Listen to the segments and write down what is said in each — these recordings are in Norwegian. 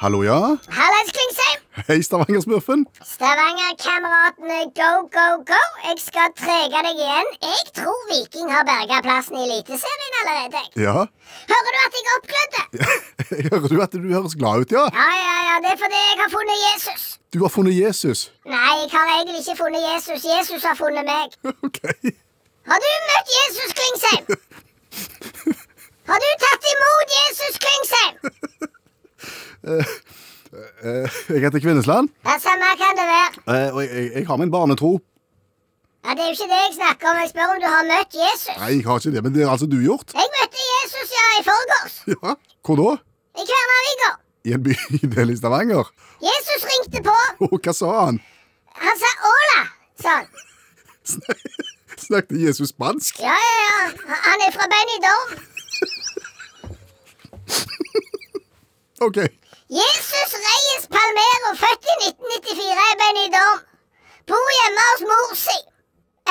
Hallo, ja? Hallais, Klingsheim! Hei, Stavanger-smurfen. Stavanger-kameratene, go, go, go! Jeg skal trege deg igjen. Jeg tror Viking har berga plassen i Eliteserien allerede. jeg. Ja. Hører du at jeg er oppglødd? Jeg hører du at du høres glad ut, ja? Ja, ja, ja, det er fordi jeg har funnet Jesus. Du har funnet Jesus. Nei, jeg har egentlig ikke funnet Jesus. Jesus har funnet meg. OK. Eh, Har du møtt Jesus, Klingsheim? Har du tatt imot Jesus, Klingsheim? Jeg heter Kvinnesland, Ja, samme kan det være. eh, og jeg, jeg, jeg har min barnetro. Ja, Det er jo ikke det jeg snakker om. Jeg spør om du har møtt Jesus. Nei, jeg har ikke det, men det har altså du gjort. Jeg møtte Jesus, ja, i forgårs. Ja. Hvor da? I Kværnervika. I en bydel i Stavanger. Jesus ringte på. Og hva sa han? Han sa 'Ola', sa han. Snakket Jesus spansk? Ja, ja, ja. Han- Han er fra Benidorm. OK. Jesus Reyes Palmero, født i 1994 i Benidorm. Bor hjemme hos mor si.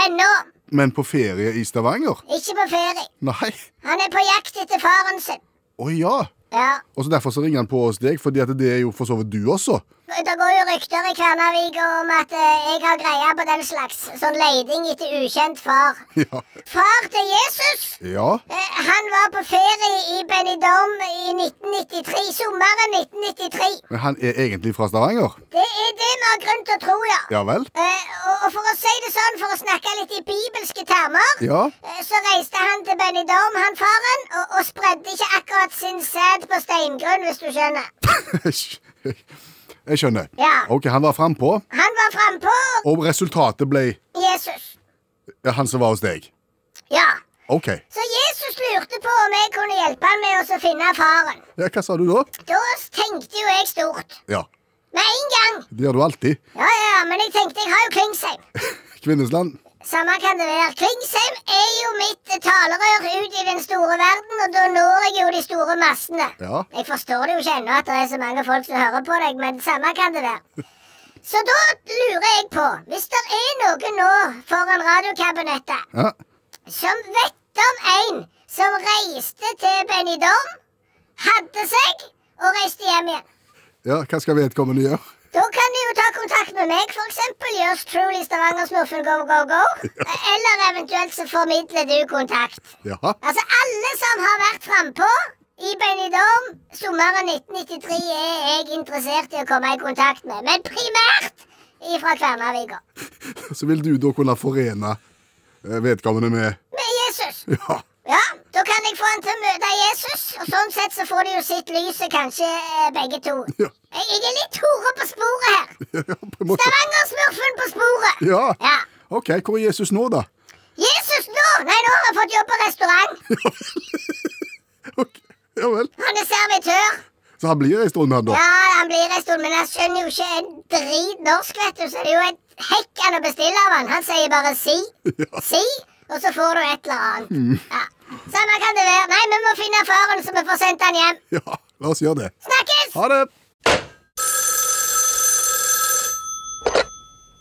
Ennå. Men på ferie i Stavanger? Ikke på ferie. Nei. Han er på jakt etter faren sin. Å ja. Ja. Og så Derfor så ringer han på hos deg, fordi at det er jo for så vidt du også. Det går jo rykter i Kværnervika om at eh, jeg har greia på den slags sånn leiding etter ukjent far. Ja. Far til Jesus ja. Eh, Han var på ferie i Benidorm i 1993, sommeren 1993. Men han er egentlig fra Stavanger? Det er det vi har grunn til å tro, ja. Ja vel? Eh, og, og for å si det sånn, for å snakke litt i bibelske termer, Ja. eh, så reiste han til Benidorm, han faren, og, og spredde ikke akkurat sin sæd på steingrunn, hvis du skjønner. Jeg skjønner. Ja. OK, han var frampå, Han var frampå og resultatet ble Jesus. han som var hos deg. Ja. OK. Så Jesus lurte på om jeg kunne hjelpe han med å så finne faren. Ja, hva sa du da? Da tenkte jo jeg stort. Ja. Med en gang. Det gjør du alltid. Ja, ja, men jeg tenkte jeg har jo Klingsheim. Kvinnesland. Samme kan det være. Klingsheim er jo mitt talerør ut i den store verden, og da når jeg jo de store massene. Ja. Jeg forstår det jo ikke ennå at det er så mange folk som hører på deg, men samme kan det være. Så da lurer jeg på, hvis det er noen nå foran radiokabinettet Ja. som vet om en som reiste til Benidorm, hadde seg og reiste hjem igjen. ja, hva skal vedkommende gjøre? Da kan de jo ta kontakt med meg, f.eks. Yours truly Stavanger-smurfen go, go, go. Eller eventuelt så formidler du kontakt. Ja. Altså, alle som har vært frampå i Benidorm sommeren 1993, er jeg interessert i å komme i kontakt med. Men primært ifra Kværnervika. Så vil du da kunne forene eh, vedkommende med Med Jesus. Ja. Ja, da kan jeg få han til å møte Jesus, og sånn sett så får de jo sitt lyset, kanskje eh, begge to. Ja, Jeg, jeg er litt hore på sporet her. ja på en måte. Stavanger-smurfen på sporet. Ja. Ja. OK, hvor er Jesus nå, da? Jesus nå! Nei, nå har han fått jobb på restaurant. Ok, Ja vel. Han er servitør. Så han blir ei stund, han, da? Ja, han blir en stund, men han skjønner jo ikke en drit norsk, vet du. Så det er jo et hekken å bestille av han. Han sier bare si, si, og så får du et eller annet. Ja. Samme kan det være. Nei, vi må finne faren, så vi får sendt han hjem. Ja, la oss gjøre det. Snakkes! Ha det!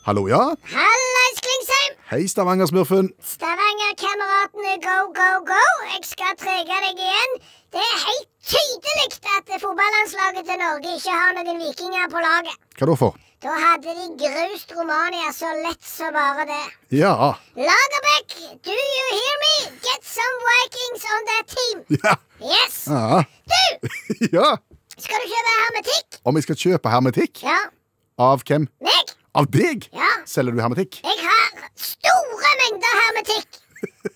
Hallo, ja? Hallais, Klingsheim! Hei, Stavanger-smurfen. Stavanger-kameratene, go, go, go! Jeg skal trege deg igjen. Det er helt tydelig at fotballandslaget til Norge ikke har noen vikinger på laget. Hva da for? Da hadde de grust Romania så lett som bare det. Ja. Lagerbäck, do you hear me? Get some Vikings on that team. Ja. Yes! ja. Du, ja. skal du kjøpe hermetikk? Om jeg skal kjøpe hermetikk? Ja. Av hvem? Meg? Av deg? Ja. Selger du hermetikk? Jeg har store mengder hermetikk.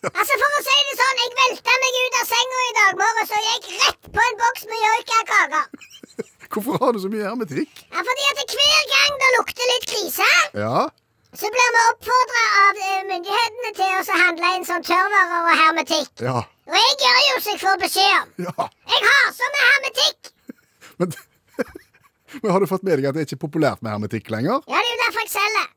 Altså For å si det sånn, jeg velta meg ut av senga i dag morges og gikk rett på en boks med joikakaker. Hvorfor har du så mye hermetikk? Ja, fordi at hver gang det lukter litt krise, Ja. så blir vi oppfordra av eh, myndighetene til å så handle inn sånn tørrvarer og hermetikk. Ja. Og jeg gjør jo som jeg får beskjed om. Ja. Jeg har sånn med hermetikk. Men, men har du fått med deg at det er ikke er populært med hermetikk lenger? Ja, det er jo derfor jeg selger.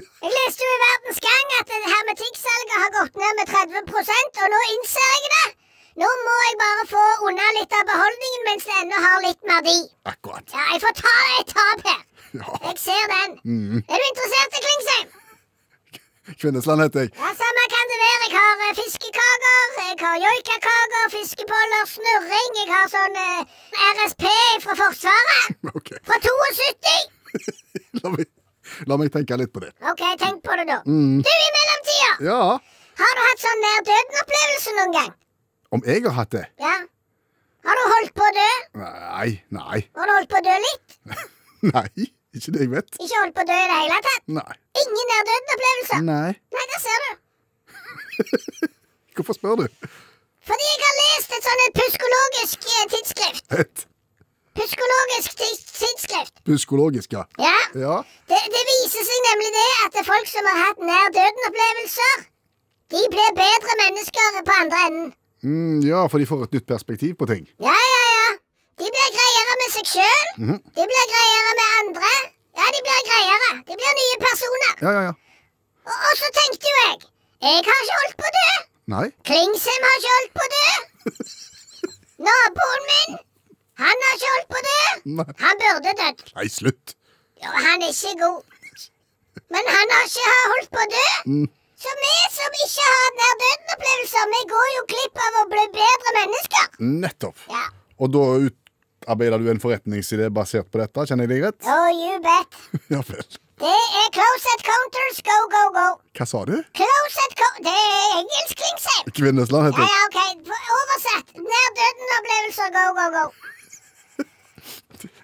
Jeg leste jo i Verdens Gang at eh, hermetikksalget har gått ned med 30 og nå innser jeg det. Nå må jeg bare få unna litt av beholdningen mens det ennå har litt verdi. Akkurat. Ja, jeg får ta et tap her. Ja. Jeg ser den. Er du interessert i Klingsheim? Kvinnesland heter jeg. Ja, Samme kan det være. Jeg har eh, fiskekaker, jeg har joikakaker, fiskeboller, snurring. Jeg har sånn eh, RSP fra Forsvaret. Ok, Fra 72. la meg, la meg tenke litt på det. Mm. OK, tenk på det, da. Du, i mellomtida, Ja, har du hatt sånn nær døden-opplevelse noen gang? om jeg har hatt det? Ja. Har du holdt på å dø? Nei, nei, Har du holdt på å dø litt? nei. Ikke det jeg vet. Ikke holdt på å dø i det hele tatt? Nei. Ingen nær døden-opplevelser? Nei. Nei, der ser du. Hvorfor spør du? Fordi jeg har lest et sånn et pyskologisk eh, tidsskrift. Et Pyskologisk tids- tidsskrift. psykologisk, ja. Ja. Ja, Det, det viser seg nemlig det at det er folk som har hatt nær døden-opplevelser, de blir bedre mennesker på andre enden. mm, ja for de får et nytt perspektiv på ting. Ja, ja, ja. De blir greiere med seg sjøl. Mhm. De blir greiere med andre. Ja, de blir greiere. De blir nye personer. Ja, ja, ja. Og, og så tenkte jo jeg Jeg har ikke holdt på å dø. Nei. Klingsheim har ikke holdt på å dø. Naboen min, han har ikke holdt på å dø. Nei, Han burde dødd. nei slutt. Jo, han er ikke god. Men han har ikke holdt på å dø. Mm. Så vi som ikke har hatt nær døden-opplevelser, vi går jo glipp av å bli bedre mennesker. Mm. Nettopp. Ja. Og da utarbeider du en forretningsidé basert på dette, kjenner jeg deg rett? Oh, you bet. Ja vel. Det er closet counters, go, go, go. Hva sa du? Closet co... Det er engelsk, Klingsheim. Kvinnesland Ja, heter jeg. ja, OK. På- Oversett. Nær døden-opplevelser, go, go, go.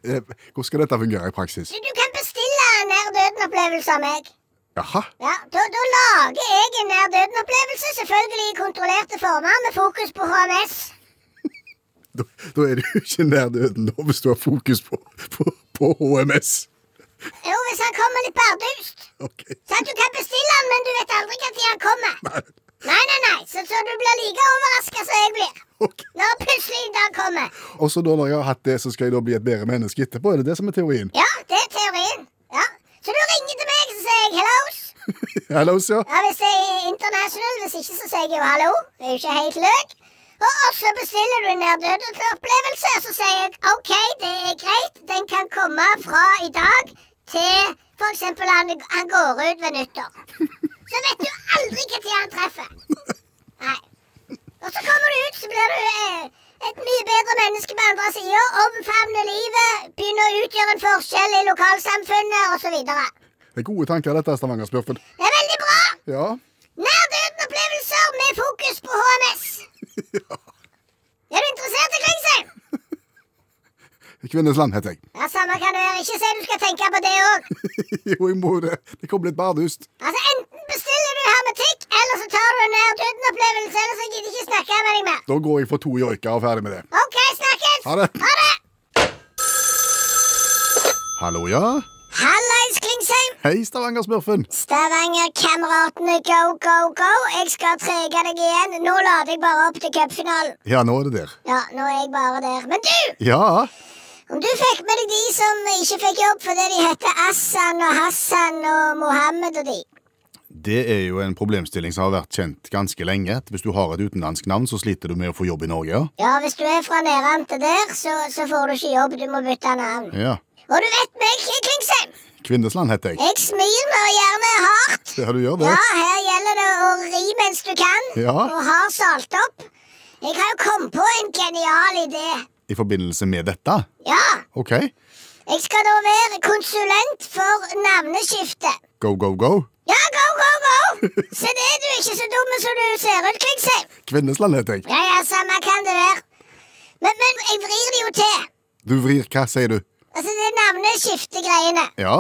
Eh, Hvordan skal dette fungere i praksis? Du, du kan bestille en nær døden-opplevelse av meg. Jaha. Ja, da, da lager jeg en nær døden-opplevelse, selvfølgelig i kontrollerte former, med fokus på HMS. Da, da er du ikke nær døden da, hvis du har fokus på, på, på HMS. Jo, hvis han kommer litt bardust. Ok. Sant, du kan bestille han, men du vet aldri når han kommer. Nei. Nei, nei, nei, så, så du blir like overraska som jeg blir. Ok. Når plutselig en dag kommer. Og så da når jeg har hatt det, så skal jeg da bli et bedre menneske etterpå? Er det det som er teorien? Ja, det er teorien. Ja. Så du ringer til meg, så sier jeg hellos. Hallo, ja. Ja, Hvis det er international, hvis ikke så sier jeg jo hallo. Det er jo ikke helt løk. Og, og så bestiller du en nær-døden-opplevelse, og så sier jeg OK, det er greit. Den kan komme fra i dag til f.eks. Han, han går ut ved nyttår. Så vet du aldri når han treffer. Nei. Og så kommer du ut, så blir du eh, et mye bedre menneske på andre sida. Omfavner livet, begynner å utgjøre en forskjell i lokalsamfunnet osv. Det Det er gode tanker, dette, Stavanger-smurfen. er veldig bra. Ja. Nær-døden-opplevelser med fokus på HMS. Er du interessert i Klingsheim? Kvinnesland heter jeg. Ja, Samme kan det være. Ikke si du skal tenke på det òg. jo, jeg må det. Det kom litt bardust. Altså, enten bestiller du hermetikk, eller så tar du en nær-døden-opplevelse. Ellers så gidder jeg ikke snakke med deg mer. Da går jeg for to joiker og ferdig med det. OK, snakkes. Ha det. Ha det. Hallo, ja. Hallais, Klingsheim. Hei, Stavanger-smurfen. Stavanger-kameratene, go, go, go. Jeg skal trege deg igjen. Nå lader jeg bare opp til cupfinalen. Ja, nå er det der. Ja, nå er jeg bare der. Men du! Ja. Om du fikk med deg de som ikke fikk jobb fordi de heter Assan og Hassan og Mohammed og de. Det er jo en problemstilling som har vært kjent ganske lenge. at Hvis du har et utenlandsk navn, så sliter du med å få jobb i Norge, ja. Ja, hvis du er fra Neran til der, så, så får du ikke jobb, du må bytte navn. Ja. Og du vet meg, Klingsheim, Kvinnesland heter jeg. jeg smir meg og gjerne hardt. Ja, du gjør det. Ja, her gjelder det å ri mens du kan, Ja. og har salt opp. Jeg har jo kommet på en genial idé. I forbindelse med dette. Ja, OK. jeg skal da være konsulent for navneskifte. Go, go, go. Ja, go, go, go! Se det, du er ikke så dumme som du ser ut, Klingsheim. Kvinnesland heter jeg. Ja, ja, samme kan det være. Men, men jeg vrir det jo til. Du vrir hva, sier du? Altså, det navnet skifter greiene. Ja.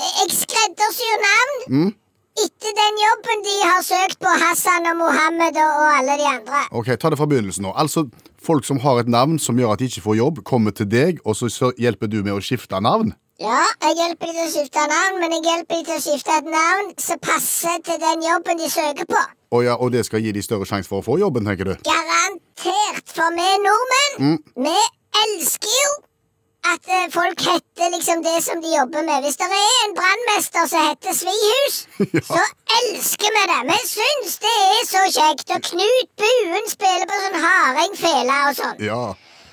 Jeg jeg skreddersyr navn etter den jobben de har søkt på Hassan og Mohammed og, og alle de andre. Ok, ta det fra begynnelsen nå. Altså, folk som har et navn som gjør at de ikke får jobb, kommer til deg, og så så hjelper du med å skifte navn? Ja, jeg hjelper de til å skifte navn, men jeg hjelper de til å skifte et navn som passer til den jobben de søker på. Og, ja, og det skal gi de større sjanse for å få jobben, tenker du? Garantert, for vi nordmenn, vi elsker jo at eh, folk heter liksom det som de jobber med. Hvis det er en brannmester som heter Svihus, så elsker vi det. Vi syns det er så kjekt. Og Knut Buen spiller på sånn hardingfele og sånn. Ja.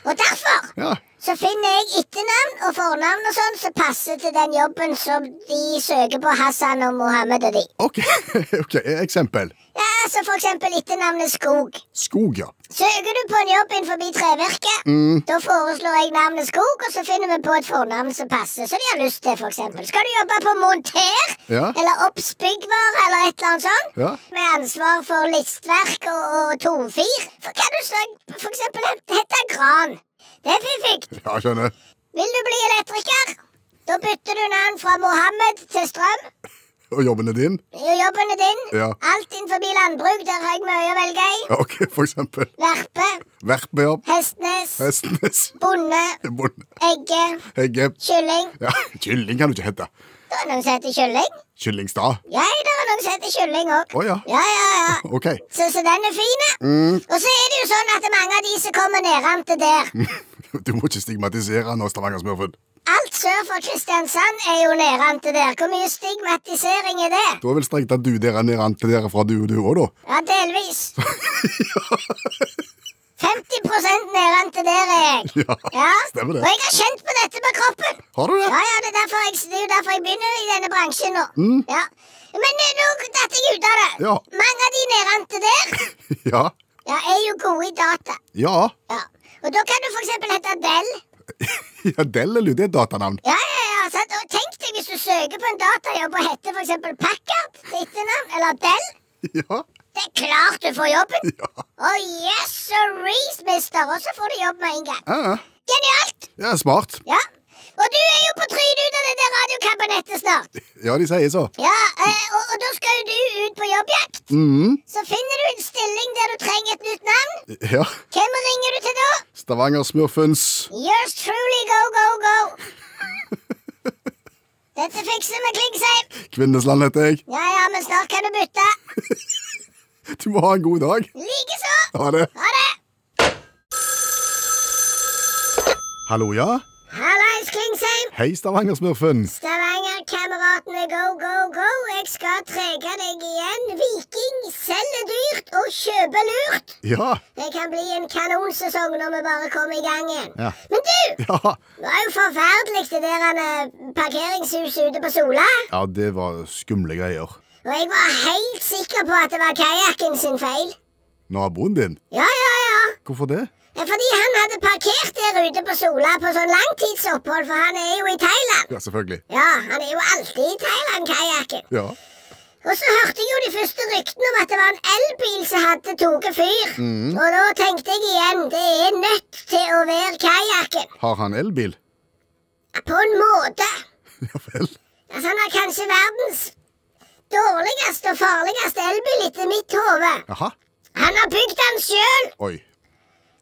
Og derfor Ja. så finner jeg etternavn og fornavn og sånn som passer til den jobben som de søker på Hassan og Mohammed og de. OK. ok, Eksempel. Ja, så for eksempel etternavnet Skog. Skog, ja. Søker du på en jobb innenfor trevirket, da foreslår jeg navnet Skog, og så finner vi på et fornavn som passer, som de har lyst til, for eksempel. Skal du jobbe på monter, Ja. eller oppsbyggvare, eller et eller annet sånt, Ja. med ansvar for listverk og, og tomfir, så kan du så, for eksempel hete Gran. Det er fiffig. Ja, skjønner. Vil du bli elektriker? Da bytter du navn fra Mohammed til Strøm. Og jobben er din? Det er jo Jobben er din. Ja. Alt innenfor landbruk, der har jeg mye å velge i. Ja, OK, for eksempel. Verpe, Verpejobb. Hestnes, Hestenes. Bonde, Bonde. Egge, Egge. Kylling. Ja, kylling kan du ikke hete. Det er noen som heter Kylling. Kyllingstad. Ja, det er noen som heter Kylling òg. Å ja. Ja, ja, ja. OK. Så, så den er fin. Mm. Og så er det jo sånn at mange av de som kommer nedentil der Du må ikke stigmatisere nå, Stavanger-smurfen. Alt sør for Kristiansand er jo nedentil der. Hvor mye stigmatisering er det? Da er vel strengt at du der er nede an til dere fra du og du òg, da. Ja, delvis. 50 nedan til der er jeg. Ja. Ja, Stemmer det. Og jeg har kjent på dette med kroppen. Har du det? Ja, ja, Det er derfor jeg, det er jo derfor jeg begynner i denne bransjen nå. Ja. Men eh, nå datt jeg ut av det. Ja. Mange av de nedan til der Ja. ja, er jo gode i data. Ja. Ja. Og da kan du for eksempel hete Dell. ja Del er jo det er datanavn. Ja, ja, ja, sant? Og tenk deg hvis du søker på en datajobb og heter for eksempel Packard til etternavn, eller Dell. Ja. Det er klart du får jobben. Ja. Oh, yes, sorrys, mister. Og så får du jobb med en gang. Ja, ja. Genialt! ja smart. Ja. Og du er jo på trynet ut av det der radiokabinettet snart. Ja, de sier så. Ja, eh, og, og da skal jo du ut på jobbjakt. Mhm. Så finner du en stilling der du trenger et nytt navn. Ja. Hvem ringer du til da? Stavanger-smurfens Yours truly go, go, go. Dette fikser vi, Klingsheim. Kvinnesland heter jeg. Ja, ja, men snart kan du bytte. Du må ha en god dag. Likeså. Ha det. Ha det. Hallo, ja? Hallais, Klingsheim. Hei, Stavanger-smurfen. Stavanger-kameratene, go, go, go. Jeg skal trege deg igjen. Viking selger dyrt og kjøper lurt. Ja. Det kan bli en kanonsesong når vi bare kommer i gang igjen. Ja. Men du, Ja. det var jo forferdelig det der eh, parkeringshuset ute på Sola. Ja, det var skumle greier. Og jeg var helt sikker på at det var kajakken sin feil. Naboen din? Ja, ja, ja. Hvorfor det? Det er Fordi han hadde parkert der ute på Sola på sånn langtidsopphold, for han er jo i Thailand. Ja, selvfølgelig. Ja, han er jo alltid i Thailand, kajakken. Ja. Og så hørte jeg jo de første ryktene om at det var en elbil som hadde tatt fyr. Og da tenkte jeg igjen, det er nødt til å være kajakken. Har han elbil? På en måte. Ja vel. Altså, han har kanskje verdens dårligste og farligste elbil etter mitt hode. Jaha. Han har bygd den sjøl! Oi.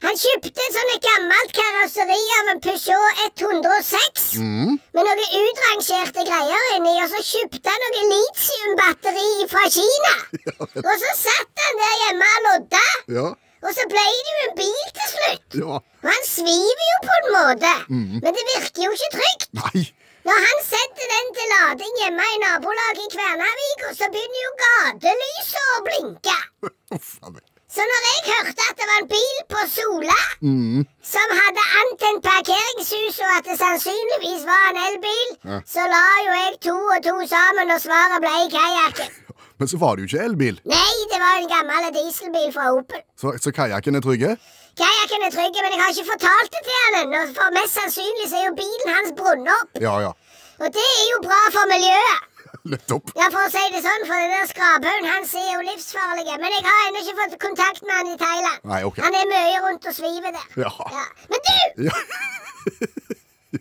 Han kjøpte et sånt gammelt karosseri av en Peugeot 106 Mhm. med noen utrangerte greier inni, og så kjøpte han noe litiumbatteri fra Kina. Og så satt han der hjemme og lodda, Ja. og så ble det jo en bil til slutt. Ja. Og han sviver jo på en måte, men det virker jo ikke trygt. Nei. Når han setter den til lading hjemme i nabolaget i Kvernavik, og så begynner jo gatelyset å blinke. Uff a meg. Så når jeg hørte at det var en bil på Sola Mhm. som hadde antent parkeringshus, og at det sannsynligvis var en elbil, Ja. så la jo jeg to og to sammen, og svaret ble kajakken. Men så var det jo ikke elbil. Nei, det var en gammel dieselbil fra Opel. Så, så kajakken er trygge? Kajakken er trygg, men jeg har ikke fortalt det til han ennå, for mest sannsynlig så er jo bilen hans brunnet opp. Ja, ja. Og det er jo bra for miljøet. Nettopp. Ja, for å si det sånn, for den der skraphaugen hans er jo livsfarlig. Men jeg har ennå ikke fått kontakt med han i Thailand. Nei, ok. Han er mye rundt og sviver der. Ja. Men du, Ja.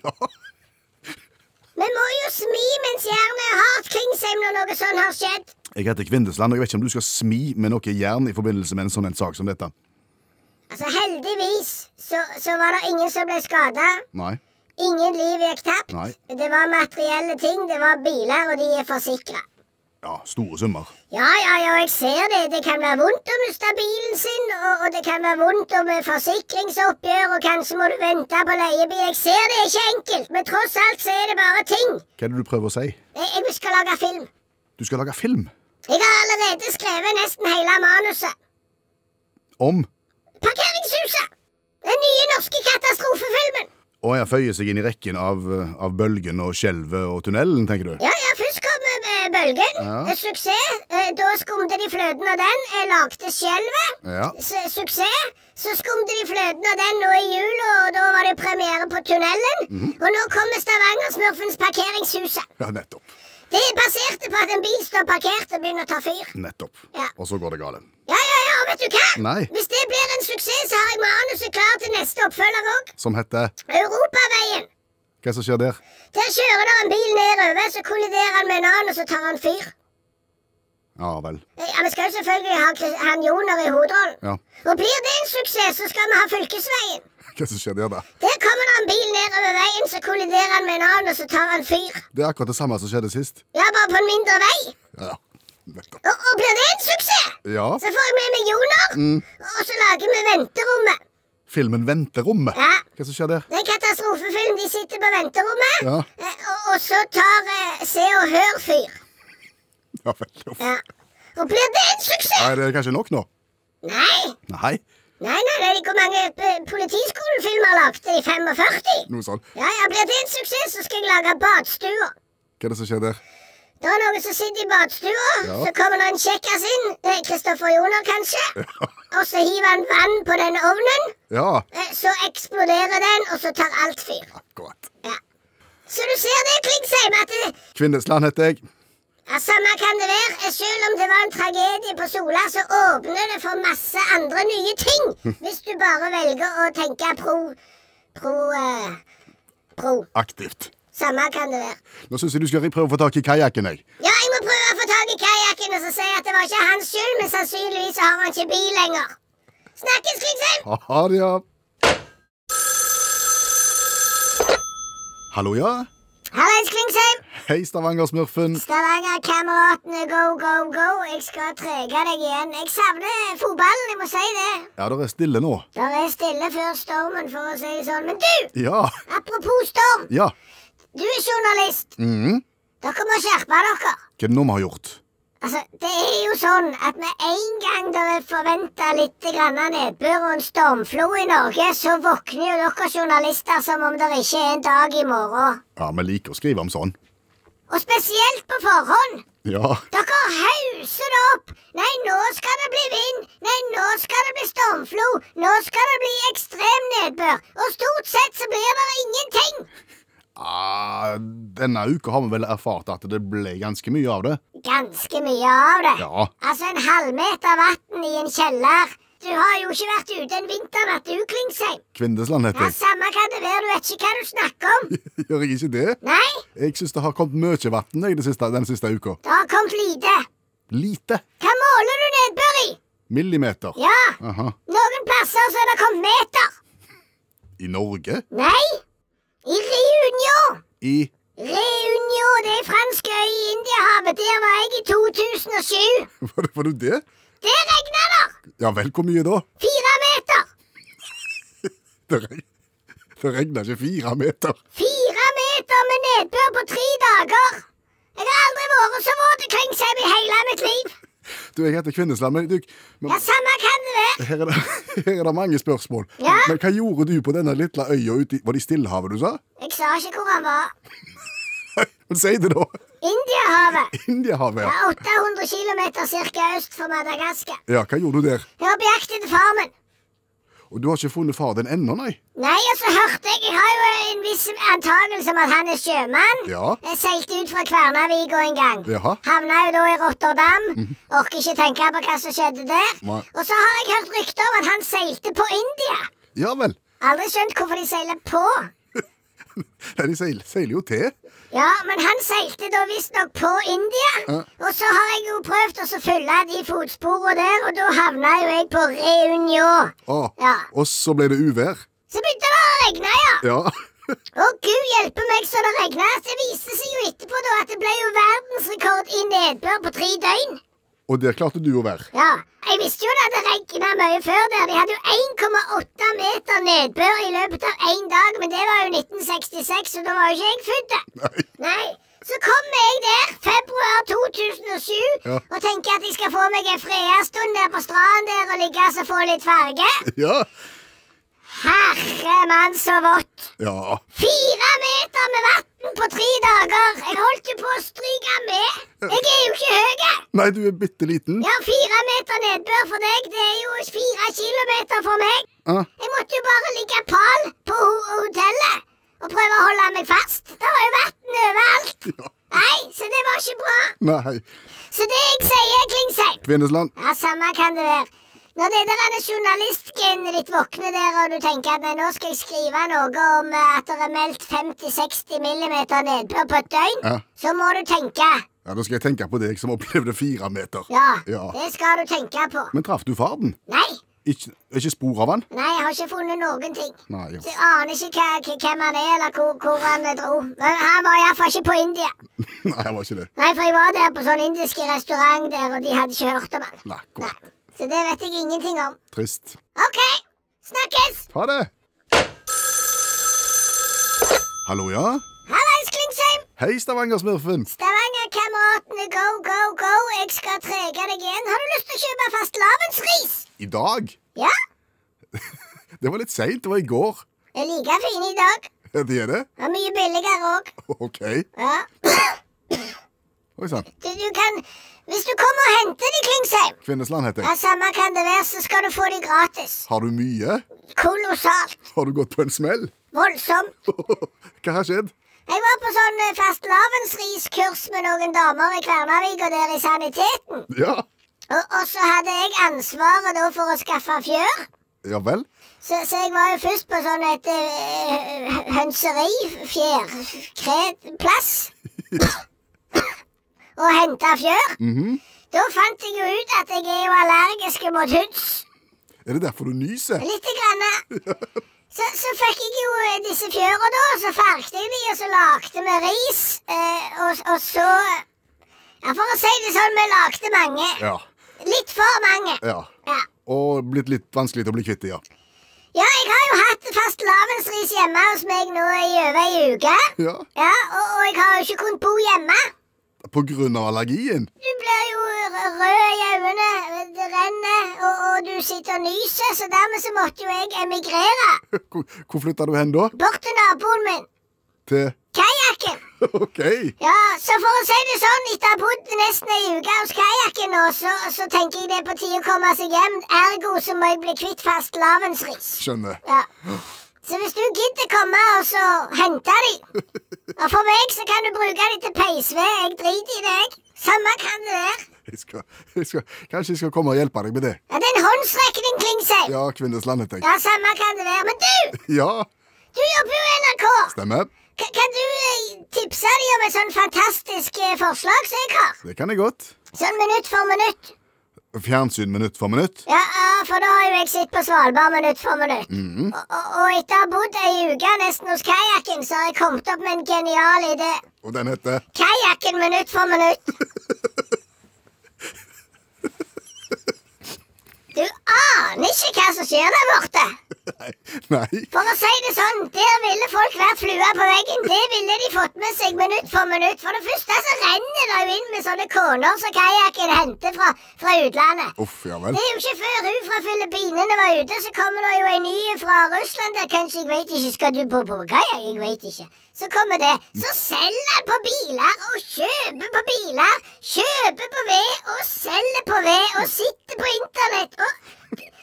ja. vi må jo smi mens jernet er hardt, Klingsheim, når noe sånn har skjedd. Jeg heter Kvindesland, og jeg vet ikke om du skal smi med noe jern i forbindelse med en sånn en sak som dette. Altså, heldigvis så, så var det ingen som ble skada. Nei. Ingen liv gikk tapt. Nei. Det var materielle ting, det var biler, og de er forsikra. Ja, store summer. Ja, ja, ja, jeg ser det. Det kan være vondt å miste bilen sin, og, og det kan være vondt om eh, forsikringsoppgjør, og kanskje må du vente på leiebil. Jeg ser det er ikke enkelt, men tross alt så er det bare ting. Hva er det du prøver å si? Jeg, jeg skal lage film. Du skal lage film Jeg har allerede skrevet nesten hele manuset. om Parkeringshuset! Den nye norske katastrofefilmen. Og jeg føyer seg inn i rekken av, eh, av bølgen og skjelvet og tunnelen, tenker du? Ja, ja, først kom eh, Bølgen. Ja. Eh, Suksess. Eh, da skumte de fløten av den. Eh, lagde Skjelvet. Ja. Su- Suksess. Så skumte de fløten av den nå i jul, og da var det premiere på Tunnelen. Og nå kommer Stavanger-smurfens Parkeringshuset. Ja, nettopp. Det er basert på at en bil står parkert og begynner å ta fyr. Nettopp. Ja. Og så går det galt. Ja, ja, ja, og vet du hva? Nei. Hvis det blir en suksess, så har jeg manuset klar til neste oppfølger òg. Som heter Europaveien. Hva som skjer der? Der kjører der en bil nedover, så kolliderer han med en annen, og så tar han fyr. Eh, Ja vel. Ja, Vi skal jo selvfølgelig ha Chris- han Joner i hovedrollen. Ja. Og blir det en suksess, så skal vi ha fylkesveien. Hva som skjer der, da? Der kommer det en bil nedover veien, så kolliderer han med en annen, og så tar han fyr. Det er akkurat det samme som skjedde sist. Ja, bare på en mindre vei. Ja, nettopp. Og, og blir det en suksess, Ja, så får jeg med meg Joner, og så lager vi Venterommet. filmen Venterommet. Ja, Hva som skjer der? Det er en katastrofefilm. De sitter på venterommet, Ja. eh, og, og så tar eh, Se og Hør fyr. Ja vel. uff. Ja. Og blir det en suksess? Er det kanskje nok nå? Nei. Nei, Nei, nei, nei, hvor mange eh, politiskolefilmer lagde de? 45? noe sånn. Ja, ja, Blir det en suksess, så skal jeg lage badstua. Hva er det som skjer der? Det er noen som sitter i badstua, Ja. så kommer det en kjekkas inn. eh, Kristoffer Joner, kanskje. Og så hiver han vann på den ovnen. Ja, eh, Så eksploderer den, og så tar alt fyr. akkurat. Ja. Så du ser det, Klingsheim, at det, Kvinnesland heter jeg. ja, samme kan det være. eh, Selv om det var en tragedie på Sola, så åpner det for masse andre nye ting. Hvis du bare velger å tenke pro pro eh, pro. Aktivt. Samme kan det være. Nå syns jeg du skal prøve å få tak i kajakken, jeg. Ja, jeg må prøve å få tak i kajakken og så si at det var ikke hans skyld, men sannsynligvis har han ikke bil lenger. Snakkes, Klingsheim! Ha det, ja. Hallo, ja. Hallais, Klingsheim! Hei, Stavanger-smurfen. Stavanger-kameratene, go, go, go. Jeg skal trege deg igjen. Jeg savner fotballen, jeg må si det. Ja, det er stille nå. Det er stille før stormen, for å si det sånn. Men du! Ja. Apropos storm. Ja. Du er journalist. Mhm. Dere må skjerpe dere. Hva er det nå vi har gjort? Altså, Det er jo sånn at med en gang det er forventa litt grann av nedbør og en stormflo i Norge, så våkner jo dere journalister som om det ikke er en dag i morgen. Ja, vi liker å skrive om sånn. Og spesielt på forhånd. Ja. Dere hauser det opp. Nei, nå skal det bli vind. Nei, nå skal det bli stormflo. Nå skal det bli ekstrem nedbør. Og stort sett så blir det ingenting. Ah, denne uka har vi vel erfart at det ble ganske mye av det. Ganske mye av det. Ja. Altså en halvmeter vann i en kjeller. Du har jo ikke vært ute en vinternatt, du, Klingsheim. Kvindesland heter Ja, jeg. Samme kan det være, du vet ikke hva du snakker om. Gjør jeg ikke det? Nei, Jeg syns det har kommet mye vann jeg, det siste- den siste uka. det har kommet lite. Lite. Hva måler du nedbør i? Millimeter. Ja, Aha. noen plasser så er det kommet meter. I Norge? Nei, i Reunion. I Reunion, det er fransk øy i Indiahavet. Der var jeg i 2007. Var det, var det det? Der regna det! Ja vel, hvor mye da? Fire meter. Det, reg det regna ikke fire meter. Fire meter med nedbør på tre dager! Jeg har aldri vært så våt omkring seg i hele mitt liv. Du, jeg heter Kvinnesland, men, du, men Ja, samme kan det være. her, er det, her er det mange spørsmål. Ja. Men hva gjorde du på denne lille øya ute i Var det i Stillehavet du sa? Jeg sa ikke hvor han var. Men si det, da. Indiahavet. Indiahavet. Ja, ja. 800 km cirka øst for Madagaskar. Ja, hva gjorde du der? Jeg var på jakt etter far min. Og du har ikke funnet far din ennå, nei? Nei, og så hørte jeg Jeg har jo en viss antakelse om at han er sjømann. Ja. Jeg seilte ut fra Kvernavik en gang. Jaha. Havna jo da i Rotterdam. Orker ikke tenke på hva som skjedde der. Mhm. Nei. Og så har jeg hørt rykter om at han seilte på India. Ja vel. Aldri skjønt hvorfor de seiler på. Nei, de seil, seiler jo til. Ja, men han seilte da visstnok på India. Ja. Og så har jeg jo prøvd å så følge de fotsporene der, og da havna jo jeg på Reunion. Å. Ja. Og så ble det uvær. Så begynte det å regne, ja. Ja. Å gud hjelpe meg så det regna. Det viste seg jo etterpå da at det ble jo verdensrekord i nedbør på tre døgn. Og der klarte du å være. Ja, jeg visste jo det hadde regna mye før der. De hadde jo 1,8 meter nedbør i løpet av én dag, men det var jo 1966, så da var jo ikke jeg født. da. Nei. Nei. Så kommer jeg der februar 2007 Ja. og tenker at jeg skal få meg en freia stund der på stranden der og ligge og så få litt farge. Ja. Herre mann, så vått. Ja. Fire meter med vann på tre dager. Jeg holdt jo på å stryke med. Jeg er jo ikke høy. Nei, du er bitte liten. Ja, fire meter nedbør for deg, det er jo fire kilometer for meg. Ah, Jeg måtte jo bare ligge pal på ho hotellet og prøve å holde meg fast. Det var jo vann overalt. ja. Nei, så det var ikke bra. Nei. Så det jeg sier, Klingsheim Kvinnesland. Ja, samme kan det være. Når det der er journalistgenet ditt våkner der, og du tenker at nei, nå skal jeg skrive noe om eh, at det er meldt 50-60 millimeter nedbør på et døgn, Ja. så må du tenke. ja, da skal jeg tenke på deg som opplevde fire meter. Ja, Ja. det skal du tenke på. Men traff du farden? Nei, Ikke, ikke spor av han? nei, jeg har ikke funnet noen ting. Nei. Så Ja. Jeg aner ikke hva, hva- hvem han er, eller hvor, hvor han dro. Men han var iallfall ikke på India. Nei, han var ikke det. Nei, for jeg var der på sånn indisk restaurant der, og de hadde ikke hørt om han. Nei, godt. Nei. Så det vet jeg ingenting om. Trist. OK, snakkes! Ha det! Hallo, ja? Hallais, Klingsheim! Hei, Stavanger-smurfen. Stavanger-kameratene, go, go, go! Jeg skal trege deg igjen. Har du lyst til å kjøpe fastelavnsris? I dag? Ja? Det var litt seint. Det var i går. Jeg er like fine i dag. Det er det? Og mye billigere òg. OK. Ja. Oi sann. Du, du kan Hvis du kommer og henter de, Klingsheim, Kvinnesland heter ja, jeg. samme kan det være, så skal du få de gratis. Har du mye? Kolossalt. Har du gått på en smell? Voldsomt. Hva har skjedd? Jeg var på sånn eh, fastelavnsriskurs med noen damer i Kvernavik og der i saniteten. Ja. Og, og så hadde jeg ansvaret da for å skaffe fjør. Ja vel? Så, så jeg var jo først på sånn et uh, hønseri, fjær, kred, plass. og henta fjør. Mhm. Da fant jeg jo ut at jeg er jo allergisk mot høns. Er det derfor du nyser? Litt grann. Så, så fikk jeg jo eh, disse fjøra, da. og Så farget jeg de, og så lagde vi ris. Eh, og, og så Ja, for å si det sånn, vi lagde mange. Ja. Litt for mange. ja. Ja. Og blitt litt vanskelig til å bli kvitt det, ja. ja, jeg har jo hatt fastelavnsris hjemme hos meg nå i over ei uke. Ja. Ja, og, og jeg har jo ikke kunnet bo hjemme. På grunn av allergien? Du blir jo r- rød i øynene, det renner, og, og du sitter og nyser, så dermed så måtte jo jeg emigrere. Hvor hvor flytta du hen da? Bort til naboen min. Til Kajakken. OK. Ja, så for å si det sånn, etter å ha bodd nesten ei uke hos kajakken nå, så, så tenker jeg det er på tide å komme seg hjem. Ergo så må jeg bli kvitt fastelavnsris. Skjønner. Ja. Så hvis du gidder komme og så hente de Og for meg så kan du bruke de til peisved. Jeg driter i det, jeg. Samme kan det være. Jeg skal, jeg skal, kanskje jeg skal komme og hjelpe deg med det. Ja, det er en håndsrekning, Klingsheim. Ja. Ja, Kvinnesland heter jeg. ja, samme kan det være. Men du, Ja, du jobber jo i NRK. stemmer. K kan du eh, tipse de om et sånn fantastisk eh, forslag som jeg har? Det kan jeg godt. Sånn minutt for minutt. Fjernsyn minutt for minutt. Ja, ja, for da har jo jeg sittet på Svalbard minutt for minutt. Og, og, og etter å ha bodd ei uke nesten hos kajakken, så har jeg kommet opp med en genial idé. Og den heter Kajakken minutt for minutt. Du aner ikke hva som skjer der borte. Nei. Nei. For å si det sånn, der ville folk vært flua på veggen. Det ville de fått med seg minutt for minutt. For det første så renner det jo inn med sånne koner som kajakken henter fra, fra utlandet. Uff, ja vel. Det er jo ikke før hun fra Filippinene var ute, så kommer det jo en ny fra Russland der kanskje jeg vet ikke skal du på Bulgaria, jeg vet ikke. Så kommer det. Så selger han på biler og kjøper på biler, kjøper på ved og selger på ved og sitter på internett og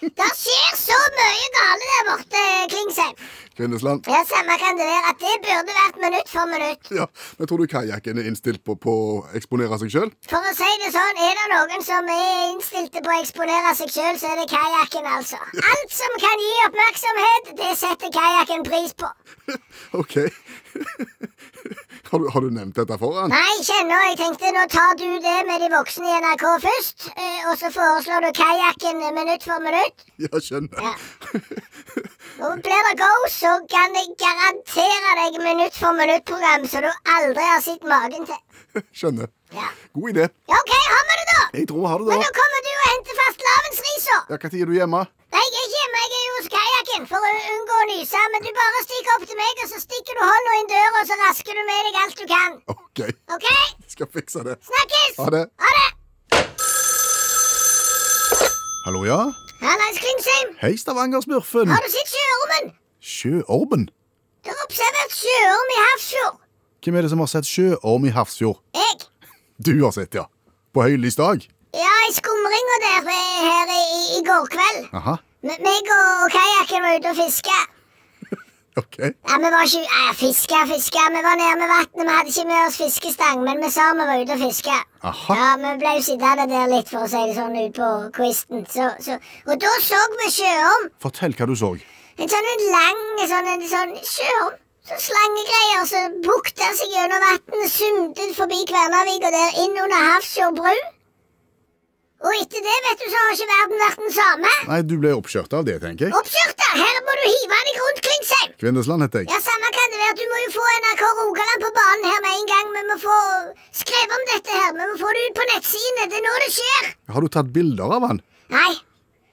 Det skjer så mye gale der borte, Klingsheim. Kvinnesland. Ja, samme kan det være at det burde vært minutt for minutt. Ja, men tror du kajakken er innstilt på, på å eksponere seg sjøl? For å si det sånn, er det noen som er innstilte på å eksponere seg sjøl, så er det kajakken, altså. Alt som kan gi oppmerksomhet, det setter kajakken pris på. OK. Har du, har du nevnt dette for han? Nei, ikke ennå. Jeg tenkte nå tar du det med de voksne i NRK først, eh, og så foreslår du kajakken minutt for minutt. Ja, skjønner. Og blir det go, så kan jeg garantere deg minutt for minutt-program som du aldri har sett magen til. Skjønner. Ja, God idé. ja OK, har vi det, da? Jeg tror vi har det Men da. nå kommer du og henter fastelavnsrisa. Ja, Når er du hjemme? Nei, jeg er ikke hjemme, jeg er jo hos kajakken for å unngå å nyse. Men du bare stikker opp til meg, og så stikker du hånda inn døra, og så rasker du med deg alt du kan. OK, OK? skal fikse det. Snakkes! Ha det. Ha det! Hallo, ja? Hallais, Klingsheim. Hei, Stavanger-smurfen. Har du sett sjøormen? Sjøormen? Det er observert sjøorm i Hafrsfjord. Hvem er det som har sett sjøorm i Hafrsfjord? Jeg. Du har sett, ja. På høylys dag? Ja, i skumringa der eh, her i, i- i går kveld. Aha, Me- Meg og, og kajakken var ute og fiska. ok. Ja, vi var ikke ja, Fiske, fiske. Vi var nede ved vannet. Vi hadde ikke med oss fiskestang, men vi sa vi var ute og fiske. Aha. Ja, vi ble jo sittende der litt, for å si det sånn, ut på kvisten. Så, så. Og da så vi sjøorm. Fortell hva du så. En sånn en lang sånn, en sånn sjøorm. Så slangegreier som bukta seg gjennom vannet, sumtet forbi Kvernavik og der inn under Hafrsfjord bru. Og etter det, vet du, så har ikke verden vært den samme. Nei, du ble oppkjørt av det, tenker jeg. Oppkjørte! Her må du hive deg rundt Klingsheim! Kvindesland heter jeg. Ja, samme kan det være. Du må jo få NRK Rogaland på banen her med en gang. Vi må få skrevet om dette her. Vi må få det ut på nettsidene. Det er nå det skjer. Har du tatt bilder av han? Nei.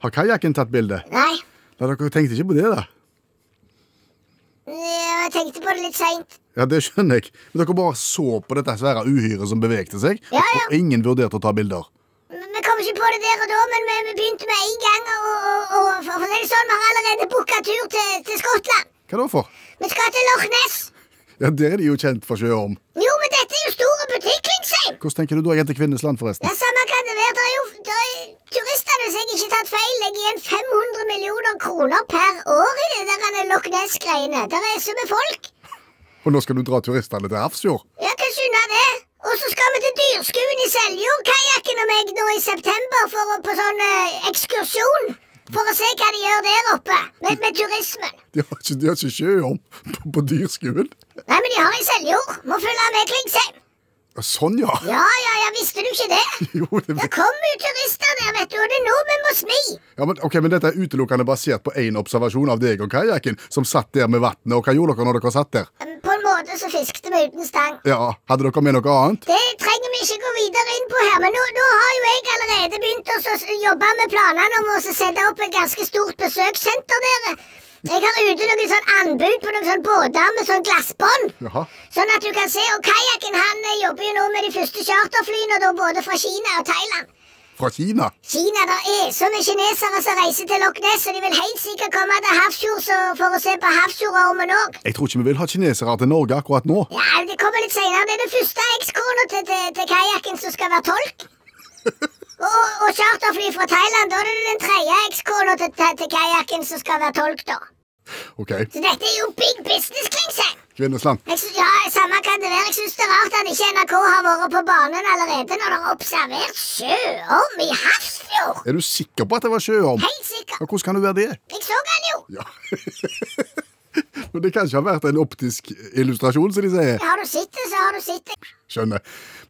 Har kajakken tatt bilde? Nei. Nei, dere tenkte ikke på det, da. Jeg tenkte på det litt seint. Ja, det skjønner jeg. Men dere bare så på dette svære uhyret som bevegte seg, Ja, ja. og ingen vurderte å ta bilder. Vi kom ikke på det der og da, men vi, vi begynte med en gang. Og, og, og for å si det sånn, vi har allerede booka tur til, til Skottland. Hva da for? Vi skal til Loch Ness. Ja, der er de jo kjent for sjøorm. Jo, men dette er jo store butikk, Klingsheim. Hvordan tenker du da, jente Kvinnesland, forresten? Ja, samme kan det være. Det er jo det er, Turistene, hvis jeg ikke tatt feil, legger igjen 500 millioner kroner per år i det der denne Loch Ness-greiene. Der er så med folk. Og nå skal du dra turistene til Hafrsfjord? Ja, kan skjønne det. Og så skal vi til Dyrskuen i Seljord, kajakken og meg nå i september for å, på sånn eh, ekskursjon. For å se hva de gjør der oppe, med, med turismen. De har ikke, de har ikke sjøorm på, på dyrskuen? Nei, men de har i Seljord. Må følge med Klingsheim. Ja, Sånn, ja. Ja, ja, ja, visste du ikke det? Jo, det, Det kommer jo turister der, vet du, og det er nå vi må smi. ja, men, ok, men dette er utelukkende basert på én observasjon av deg og kajakken, som satt der med vannet. Og hva gjorde dere når dere satt der? På en måte så fiskte vi uten stang. Ja, Hadde dere med noe annet? Det trenger vi ikke gå videre inn på her, men nå, nå har jo jeg allerede begynt å s- jobbe med planene om å s- sette opp et ganske stort besøkssenter der. Jeg har ute noen sånn anbud på noen sånn båter med sånn glassbånd. Jaha. Sånn at du kan se. Og kajakken han eh, jobber jo nå med de første charterflyene, da både fra Kina og Thailand. Fra Kina? Kina, der er så med kinesere som reiser til Loch Ness, og de vil helt sikkert komme til Hafrsfjord så- for å se på Hafrsfjordormen òg. Jeg tror ikke vi vil ha kinesere til Norge akkurat nå. Ja, Det kommer litt senere. Det er den første ekskona til, til, til kajakken som skal være tolk. Og, og charterfly fra Thailand. Da er det den tredje ekskona til, til, til kajakken som skal være tolk, da. Ok, Så dette er jo big business, Klingsheim. Kvinnesland. Jeg sy- Ja, samme kan det være. Jeg syns det er rart at ikke NRK har vært på banen allerede når de har observert sjøorm i Hafrsfjord. Er du sikker på at det var sjøorm? Helt sikkert. Ja, hvordan kan du være det? Jeg så den jo. Ja. Men det kan ikke ha vært en optisk illustrasjon, som de sier. Har du sett det, så har du sett det. Skjønner.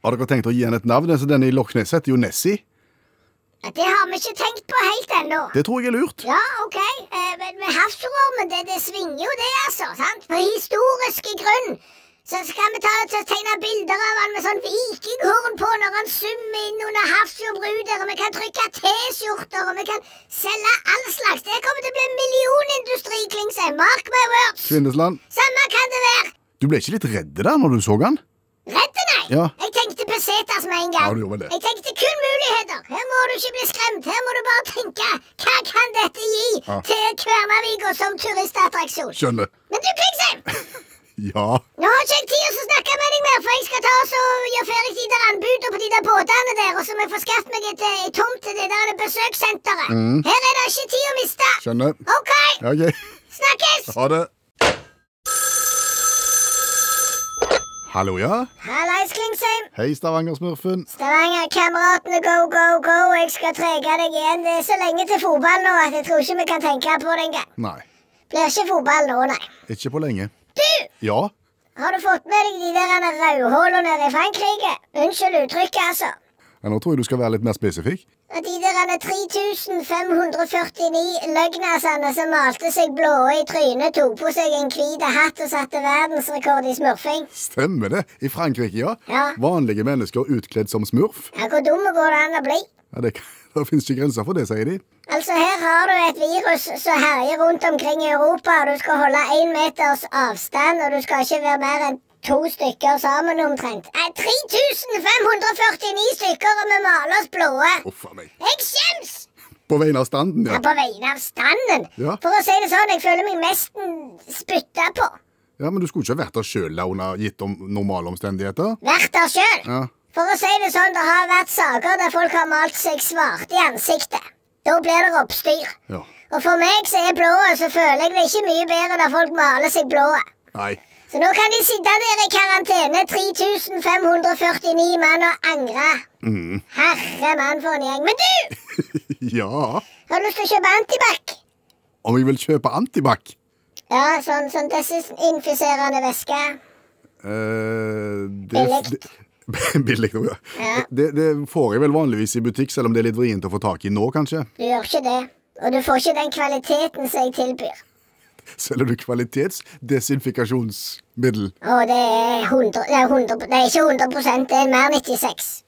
Har dere tenkt å gi henne et navn? Altså, Denne i Loch Ness heter jo Nessie. Ja, Det har vi ikke tenkt på helt ennå. Det tror jeg er lurt. Ja, ok, eh, men med havsormen, det, det svinger jo det, altså, sant? På historiske grunn. Så skal vi ta til å tegne bilder av han med sånn vikinghorn på når han summer inn under Hafrsfjord bru der, og vi kan trykke T-skjorter, og vi kan selge all slags. Det kommer til å bli en millionindustri, Klingsheim. Mark my words. Kvinnesland, Samme kan det være. du ble ikke litt redd der når du så han? Redd, nei. Ja. Jeg tenkte pesetas med en gang. Ja, du gjorde vel det. Jeg tenkte kun muligheter. Her må du ikke bli skremt. Her må du bare tenke hva kan dette gi Ja. til Kværnaviga som turistattraksjon. Skjønner. Men du, Klingsheim, Ja. nå har ikke jeg tid til å snakke med deg mer, for jeg skal ta oss og gjøre ferdig de der anbudene på de der båtene der, og så må jeg få skaffet meg et, eh, tomt til det der besøkssenteret. Mm. Her er det ikke tid å miste. Skjønner. OK, Ja, ok. snakkes! Ha det. Hallo, ja. Hallais, Klingsheim. Hei, Stavanger-smurfen. Stavanger-kameratene, go, go, go. Jeg skal trege deg igjen. Det er så lenge til fotball nå at jeg tror ikke vi kan tenke på det engang. Nei, Blir ikke fotball nå, nei. ikke på lenge. Du! Ja. Har du fått med deg de der rødhåla nede i Frankrike? Unnskyld uttrykket, altså. ja, nå tror jeg du skal være litt mer spesifikk. Og de der 3549 løgnasene som malte seg blå i trynet, tok på seg en hvit hatt og satte verdensrekord i smurfing. Stemmer det. I Frankrike, ja. Ja. Vanlige mennesker utkledd som smurf. Ja, hvor dumme går det an å bli? Ja, det, det finnes ikke grenser for det, sier de. Altså, her har du et virus som herjer rundt omkring i Europa, og du skal holde én meters avstand, og du skal ikke være mer enn to stykker sammen omtrent. Nei, 3549 stykker, og vi maler oss blåe. Uff a meg. Jeg skjems! På vegne av standen, Ja, ja. på vegne av standen. Ja. For å si det sånn, jeg føler meg mest mm, spytta på. ja. Men du skulle ikke vært der sjøl, Launa, gitt om normale omstendigheter? Vært der sjøl. Ja. For å si det sånn, det har vært saker der folk har malt seg svarte i ansiktet. Da blir det oppstyr. ja. Og for meg som er blå, så føler jeg det ikke mye bedre når folk maler seg blå. Nei. Så nå kan de sitte der i karantene, 3549 mann, og angre. Herre mann, for en gjeng. Men du! Ja. Har du lyst til å kjøpe antibac? Om jeg vil kjøpe antibac? Ja, sånn, sånn desinfiserende væske. Eh, Billigt. det, det- billig. ja. Ja. Det, det får jeg vel vanligvis i butikk, selv om det er litt vrient å få tak i nå, kanskje. Du gjør ikke det. Og du får ikke den kvaliteten som jeg tilbyr. Selger du kvalitetsdesinfikasjonsmiddel? Og det er 100, det er 100 Det er ikke 100 det er mer 96.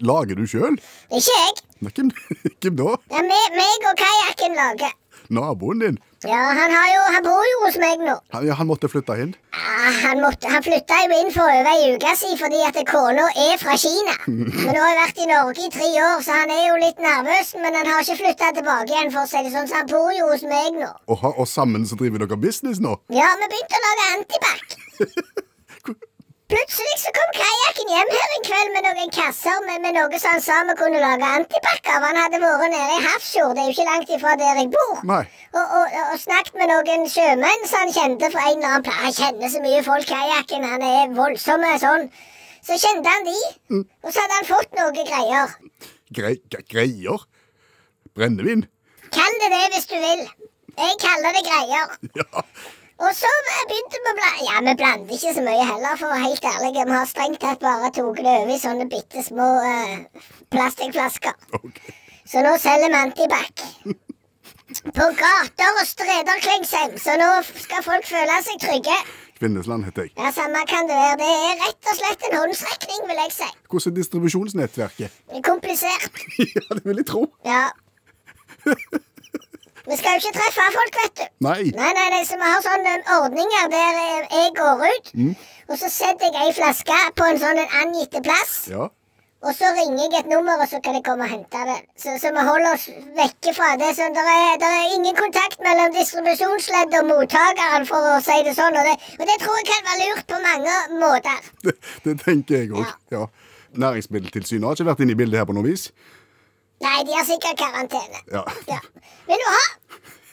Lager du sjøl? Det er ikke jeg. Hvem, hvem da? Det er meg, meg og kajakken lager. Naboen din? Ja, han, har jo, han bor jo hos meg nå. Han, ja, han måtte flytte inn? Ah, han, måtte, han flytta jo inn for over ei uke siden fordi at kona er fra Kina. Men nå har jeg vært i Norge i tre år, så han er jo litt nervøs. Men han har ikke flytta tilbake igjen, for å si det sånn, så han bor jo hos meg nå. Og, ha- og sammen så driver dere business nå? Ja, vi begynte å lage antibac. Plutselig så kom kajakken hjem her en kveld med noen kasser med, med noe som han sa vi kunne lage antibac av. Han hadde vært nede i Hafrsfjord, det er jo ikke langt ifra der jeg bor. Nei. Og, og, og snakket med noen sjømenn som han kjente fra en eller annen plass. Han kjenner så mye folk, kajakken. Han er voldsom og sånn. Så kjente han de, og så hadde han fått noe greier. Grei, gre- greier? Brennevin? Kall det det hvis du vil. Jeg kaller det greier. Ja. Og så begynte vi å blande Ja, vi blander ikke så mye heller, for å være helt ærlig. Vi har strengt tatt bare tatt det over i sånne bitte små eh, plastikkflasker. Ok. Så nå selger vi Antibac. På gater og streder Klingsheim, så nå f- skal folk føle seg trygge. Kvinnesland heter jeg. Ja, Samme kan det være. Det er rett og slett en håndsrekning, vil jeg si. Hvordan er distribusjonsnettverket? Komplisert. ja, det vil jeg tro. Ja. Vi skal jo ikke treffe folk, vet du. Nei. Nei, nei, nei, så vi har sånn sånne ordninger der eh, jeg går ut, og så setter jeg ei flaske på en sånn en angitte plass, Ja. og så ringer jeg et nummer, og så kan jeg komme og hente det. Så, så vi holder oss vekke fra det. Så det er, der er ingen kontakt mellom distribusjonsleddet og mottakeren, for å si det sånn. Og det, og det tror jeg kan være lurt på mange måter. Det, det tenker jeg òg. Ja. Næringsmiddeltilsynet har ikke vært inne i bildet her på noe vis. Nei, de har sikkert karantene. Ja. Ja. Vil du ha?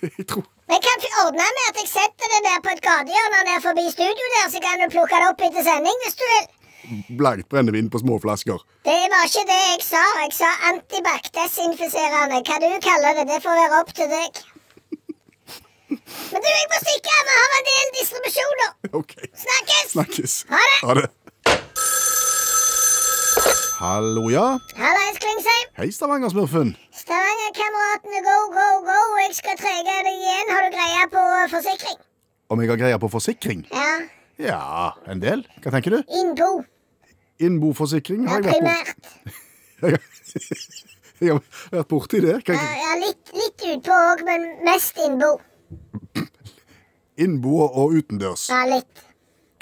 Jeg tror Jeg kan fi- ordne med at jeg setter det der på et gatehjørne ned forbi studio der, så kan du plukke det opp etter sending hvis du vil. Blankt brennevin på små flasker. Det var ikke det jeg sa. Jeg sa antibac-desinfiserende. Hva du kaller det, det får være opp til deg. Men du, jeg må stikke. Vi har en del distribusjoner. OK. Snakkes! Snakkes. Ha det. Ha det. Hallo, ja. Hallais, Klingsheim. Hei, Stavanger-smurfen. Stavanger-kameratene, go, go, go. Jeg skal trege deg igjen. Har du greie på eh, forsikring? Om jeg har greie på forsikring? Ja. Ja, en del. Hva tenker du? Innbo. Innboforsikring Ja, har jeg vært på. primært. Jeg har, jeg har vært borti det. Hva- Ja, ja, Eh, litt, litt utpå òg, men mest innbo. Innbo og utendørs. Ja, litt.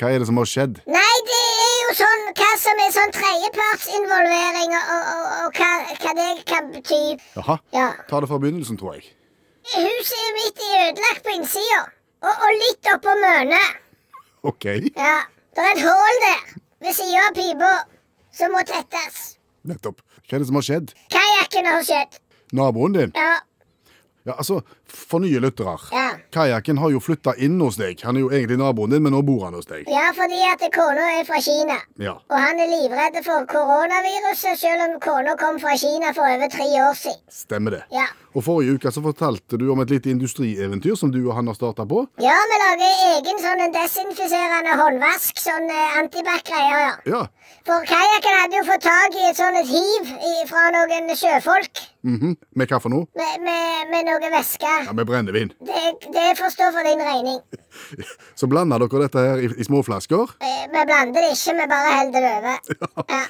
Hva er det som har skjedd? Nei, det er jo sånn hva som er sånn tredjepartsinvolvering, og, og, og, og hva, hva det kan bety. Jaha. Ja. Ta det fra begynnelsen, tror jeg. Huset mitt er ødelagt på innsida, og, og litt oppå mønet. OK. Ja. Det er et hull der ved sida av pipa som må tettes. Nettopp. Hva er det som har skjedd? Kajakken har skjedd. Naboen din? Ja. Ja, altså, For nye lyttere. Ja. Kajakken har jo flytta inn hos deg. Han er jo egentlig naboen din, men nå bor han hos deg. ja, fordi at kona er fra Kina. Ja. Og han er livredd for koronaviruset, selv om kona kom fra Kina for over tre år siden. Stemmer det. Ja. Og Forrige uke så fortalte du om et lite industrieventyr som du og han har starta på. Ja, vi lager egen sånn en desinfiserende håndvask, sånn eh, antibac-greier, ja. Ja. For kajakken hadde jo fått tak i et sånn et hiv i, fra noen sjøfolk mhm. Med hva for noe? med, med, med noe væske. Ja, Med brennevin. Det, det får stå for din regning. Så blanda dere dette her i, i småflasker. Eh, Vi blander det ikke, vi bare heller det over. Ja.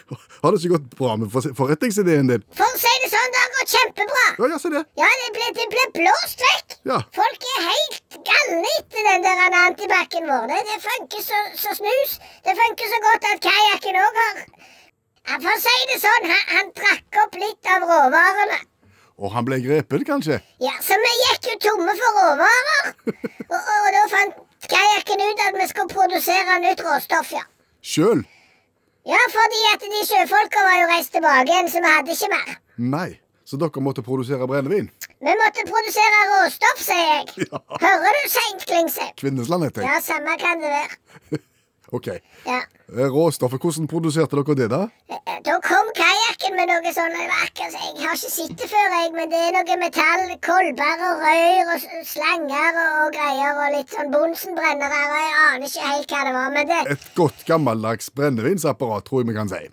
Har det ikke gått bra med for- forretningsideen din? For å si det sånn, det har gått kjempebra. Ja, ja, se det. Ja, det ble, det ble blåst vekk. Ja. Folk er helt galne etter den der antibac-en vår. Det, det funker så, så snus. Det funker så godt at kajakken òg har Ja, For å si det sånn, han, han drakk opp litt av råvarene. Og han ble grepet, kanskje? Ja, så vi gikk jo tomme for råvarer. Og, og, og da fant kajakken ut at vi skulle produsere nytt råstoff, ja. Sjøl? Ja, fordi at de sjøfolka var jo reist tilbake igjen, så vi hadde ikke mer. Nei. Så dere måtte produsere brennevin? Vi måtte produsere råstoff, sier jeg. Ja. Hører du seint, Klingse? Kvinnesland, heter jeg. Ja, samme kan det være. Ok. Ja. Eh, Råstoffet, hvordan produserte dere det, da? Eh, Da kom kajakken med noe sånn og det var akkurat så- Jeg har ikke sett det før, jeg, men det er noe metall, kolber og rør og s- slanger og, og greier og litt sånn Bonsenbrennere og jeg aner ikke helt hva det var, men det Et godt gammeldags brennevinsapparat, tror jeg vi kan si.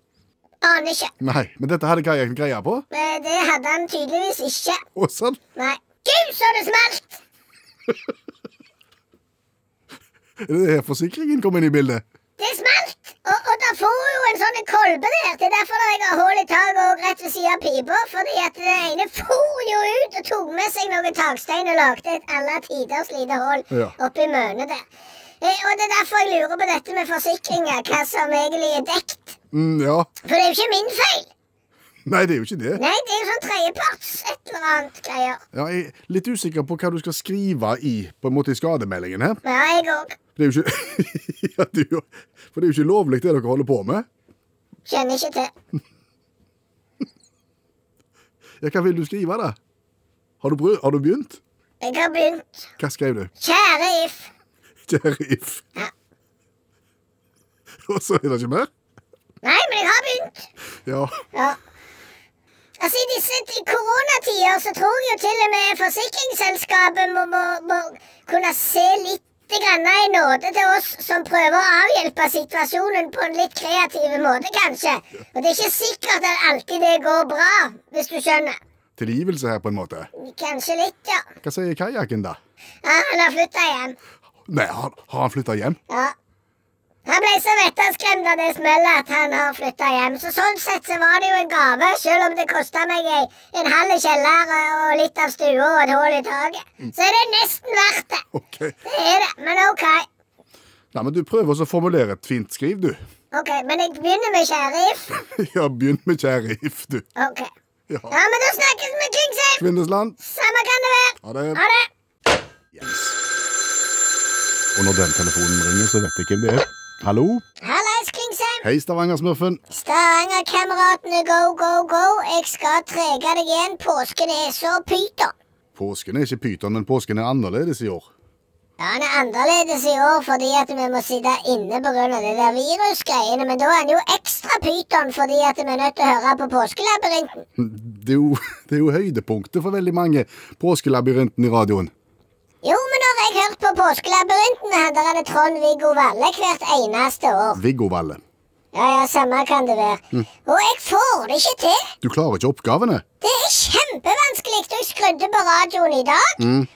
aner ikke. Nei, men dette hadde kajakken greie på? Men det hadde han tydeligvis ikke. Å, sann. Nei. Gud, så det smalt! Er det her forsikringen kom inn i bildet? Det smalt! Og, og da får hun jo en sånn kolbe der. Det er derfor jeg har hull i taket og rett ved siden av pipa. Fordi at det ene for jo ut og tok med seg noen takstein og lagde et alle tiders lite hull Ja. oppi mønet der. Eh, og det er derfor jeg lurer på dette med forsikringer, hva som egentlig er dekt. Mm, ja. For det er jo ikke min feil. Nei, det er jo ikke det. Nei, det er jo sånn tredjeparts et eller annet greier. Ja, jeg er litt usikker på hva du skal skrive i på en måte i skademeldingen her. Ja, jeg òg. Det er jo ikke ja, det er jo, For det er jo ikke lovlig, det dere holder på med. Kjenner ikke til. Ja, Hva vil du skrive, da? Har du, bru- har du begynt? Jeg har begynt. Hva skrev du? Kjære If. Kjære If. Ja. Og så er det ikke mer? Nei, men jeg har begynt. Ja. Ja. Altså, I disse t- koronatider så tror jeg jo til og med forsikringsselskapet må, må, må kunne se litt grann i nåde til oss som prøver å avhjelpe situasjonen på en litt kreativ måte, kanskje. Og det er ikke sikkert at alltid det går bra, hvis du skjønner. Tilgivelse her, på en måte. Kanskje litt, ja. Hva sier kajakken, da? ja han har flytta hjem. Nei, har, har han flytta hjem? Ja. Han ble så vettaskremt av det smellet at han har flytta hjem. Så sånn sett så var det jo en gave, sjøl om det kosta meg ei, en halv kjeller og litt av stua og et hull i taket. Så er det nesten verdt det. OK. Det er det. Men OK. Nei, men Du prøver også å formulere et fint skriv, du. Ok, Men jeg begynner med kjære If. Ja, begynn med kjære If, du. Ok. Ja. Ja, men da snakkes vi, Klingsheim. Kvinnesland. Samme kan det være. Ha det. Ha det. Yes. Og når den telefonen ringer, så vet jeg hvem det er. Hallo? Hallais, Klingsheim. Hei, Stavanger-smurfen. Stavangerkameratene go, go, go. Jeg skal trege deg igjen. Påsken er så pyton. Påsken er ikke pyton, men påsken er annerledes i år. Ja, Han er annerledes i år fordi at vi må sitte inne pga. det der virusgreiene. Men da er han jo ekstra pyton fordi at vi er nødt til å høre på Påskelabyrinten. Det er jo, det er jo høydepunktet for veldig mange. Påskelabyrinten i radioen. Jo, men når jeg hørte på Påskelabyrinten, handler det Trond-Viggo Valle hvert eneste år. Viggo Valle. Ja, ja, samme kan det være. Og jeg får det ikke til. Du klarer ikke oppgavene. Det er kjempevanskelig. og Jeg skrudde på radioen i dag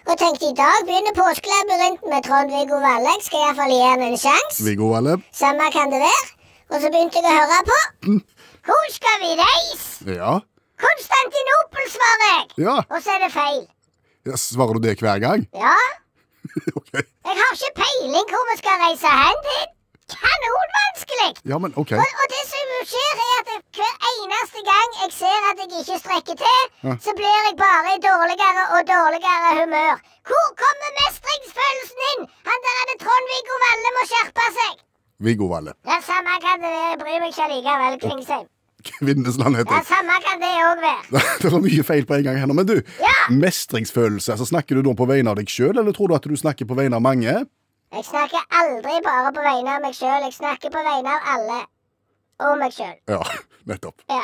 og tenkte i dag begynner Påskelabyrinten med Trond-Viggo Valle. Jeg skal iallfall gi han en sjanse. Viggo Valle. Samme kan det være. Og så begynte jeg å høre på. Hvor skal vi reise? Ja. Konstantinopel, svarer jeg. Ja. Og så er det feil. ja svarer du det hver gang? Ja, ok. jeg har ikke peiling hvor vi skal reise hen. Det er kanonvanskelig. Ja, men ok. Og, og det som jo skjer, er at hver eneste gang jeg ser at jeg ikke strekker til, Ja. så blir jeg bare i dårligere og dårligere humør. Hvor kommer mestringsfølelsen inn? Han der er det Trond-Viggo Valle må skjerpe seg. Viggo Valle. Ja, samme kan det være. Jeg bryr meg ikke likevel, Klingsheim. Kvinnesland heter Ja, jeg. samme kan det òg være. Det var mye feil på en gang her nå, men du. Ja. Mestringsfølelse. Altså, snakker du nå på vegne av deg sjøl, eller tror du at du snakker på vegne av mange? Jeg snakker aldri bare på vegne av meg sjøl. Jeg snakker på vegne av alle. Og meg sjøl. Ja, nettopp. Ja.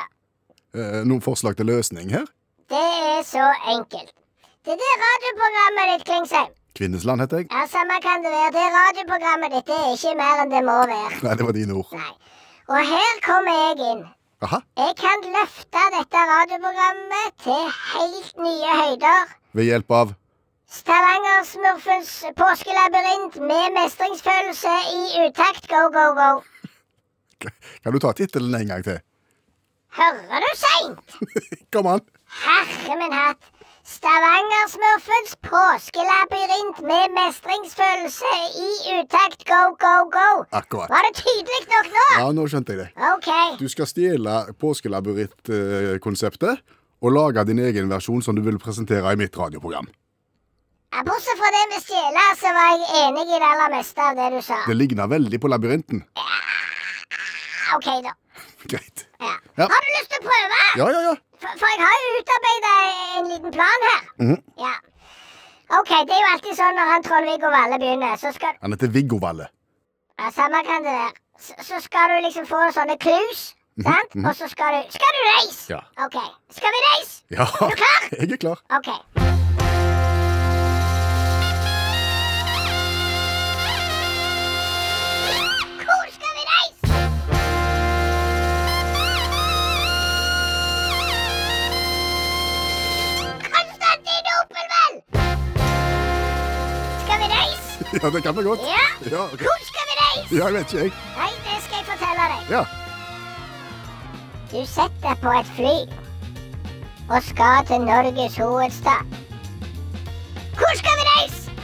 Eh, noen forslag til løsning her? Det er så enkelt. Det der radioprogrammet ditt, Klingsheim. Kvinnesland heter jeg. Ja, samme kan det være. Det radioprogrammet ditt det er ikke mer enn det må være. Nei, det var dine ord. Nei. Og her kommer jeg inn. Aha. Jeg kan løfte dette radioprogrammet til helt nye høyder. Ved hjelp av Stavanger-smurfens påskelabyrint med mestringsfølelse i utakt. Go, go, go. Kan du ta tittelen en gang til? Hører du seint? Kom an. Herre min hatt! Stavangersmurfens påskelabyrint med mestringsfølelse i utakt go, go, go. Akkurat. Var det tydelig nok nå? Ja, nå skjønte jeg det. OK. Du skal stjele påskelabyrintkonseptet eh, og lage din egen versjon som du vil presentere i mitt radioprogram. Ja, bortsett fra det med stjeler, så var jeg enig i det aller meste av det du sa. Det ligner veldig på labyrinten. Ja, OK, da. Greit. Ja. Ja. Har du lyst til å prøve? Ja, ja, ja. For, for jeg har jo utarbeida en liten plan her. Mhm. Ja. OK, det er jo alltid sånn når han Trond-Viggo Valle begynner, så skal Han heter Viggo Valle. ja, Samme kan det være. Så, så skal du liksom få sånne clues, sant? Og så skal du Skal du reise? Ja. OK. Skal vi reise? Ja, du klar? jeg er klar. OK. Hvor skal vi reise? Konstantinopel, vel! Skal vi reise? Ja, det kan vi godt. Ja. Ja, ok. Hvor skal vi reise? ja jeg vet ikke, jeg. Nei, det skal jeg fortelle deg. Ja. Du setter deg på et fly og skal til Norges hovedstad. Hvor skal vi reise?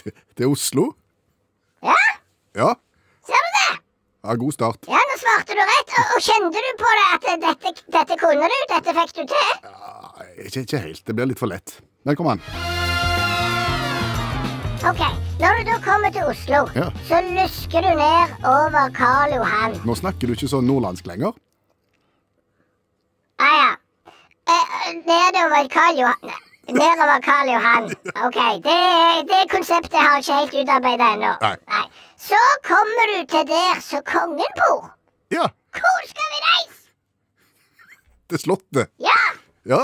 Til- Til Oslo? Ja, Ja. ser du det? ja. God start. Ja, nå svarte du rett. Og, og kjente du på det at dette, dette kunne du? Dette fikk du til? Ja, Ah, ikke, ikke helt. Det blir litt for lett. Men kom an. Ok, Når du da kommer til Oslo, Ja. så lusker du ned over Karl Johan. Nå snakker du ikke sånn nordlandsk lenger. Ah, ja. Eh, nedover Karl Johan. Nedover Karl Johan. OK. Det, det konseptet har jeg ikke helt utarbeida ennå. Nei. Så kommer du til der som kongen bor. Ja. Hvor skal vi reise? Til Slottet. Ja! Ja.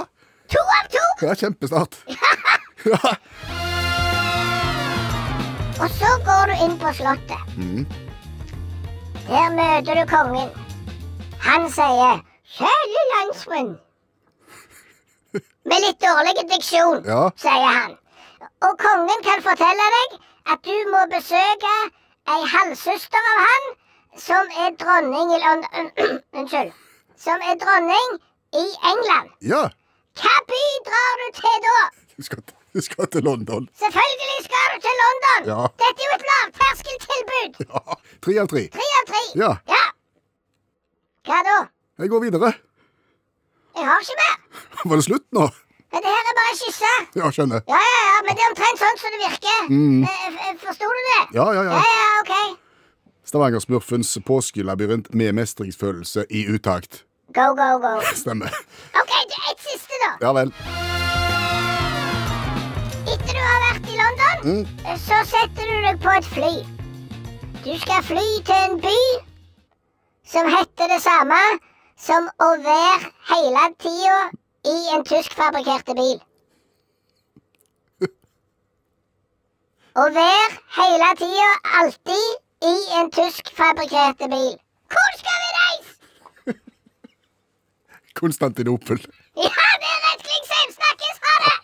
To av to. ja kjempestart. Ja. Og så går du inn på Slottet. Der møter du kongen. Han sier 'Kjære landsmenn'. Med litt dårlig diksjon, Ja. sier han. Og kongen kan fortelle deg at du må besøke ei halvsøster av han som er dronning i Lond... Unnskyld. Som er dronning i England. ja. Hva by drar du til da? Du skal, til- du skal til London. Selvfølgelig skal du til London! Ja. Dette er jo et lavterskeltilbud! Ja. Tre av tre. Tre av tre. Ja. Ja. Hva da? Jeg går videre. Jeg har ikke mer. Var det slutt nå? Men det her er bare skisse. Ja, skjønner. Ja, ja, ja, men det er omtrent sånn som det virker. Mm. Eh, f- eh, Forsto du det? Ja, ja, ja. Ja, ja, ok. Stavanger-smurfens påskelabyrint med mestringsfølelse i utakt. Go, go, go. Stemmer. Ok, du, et siste da. Ja vel. Etter du har vært i London, eh, Mm. så setter du deg på et fly. Du skal fly til en by som heter det samme som å være hele tida i en tyskfabrikkerte bil. Å være hele tida, alltid, i en tyskfabrikkerte bil. Hvor skal vi reise? Konstantinopel. Ja, det er rett, Klingsheim! Snakkes! Ha det!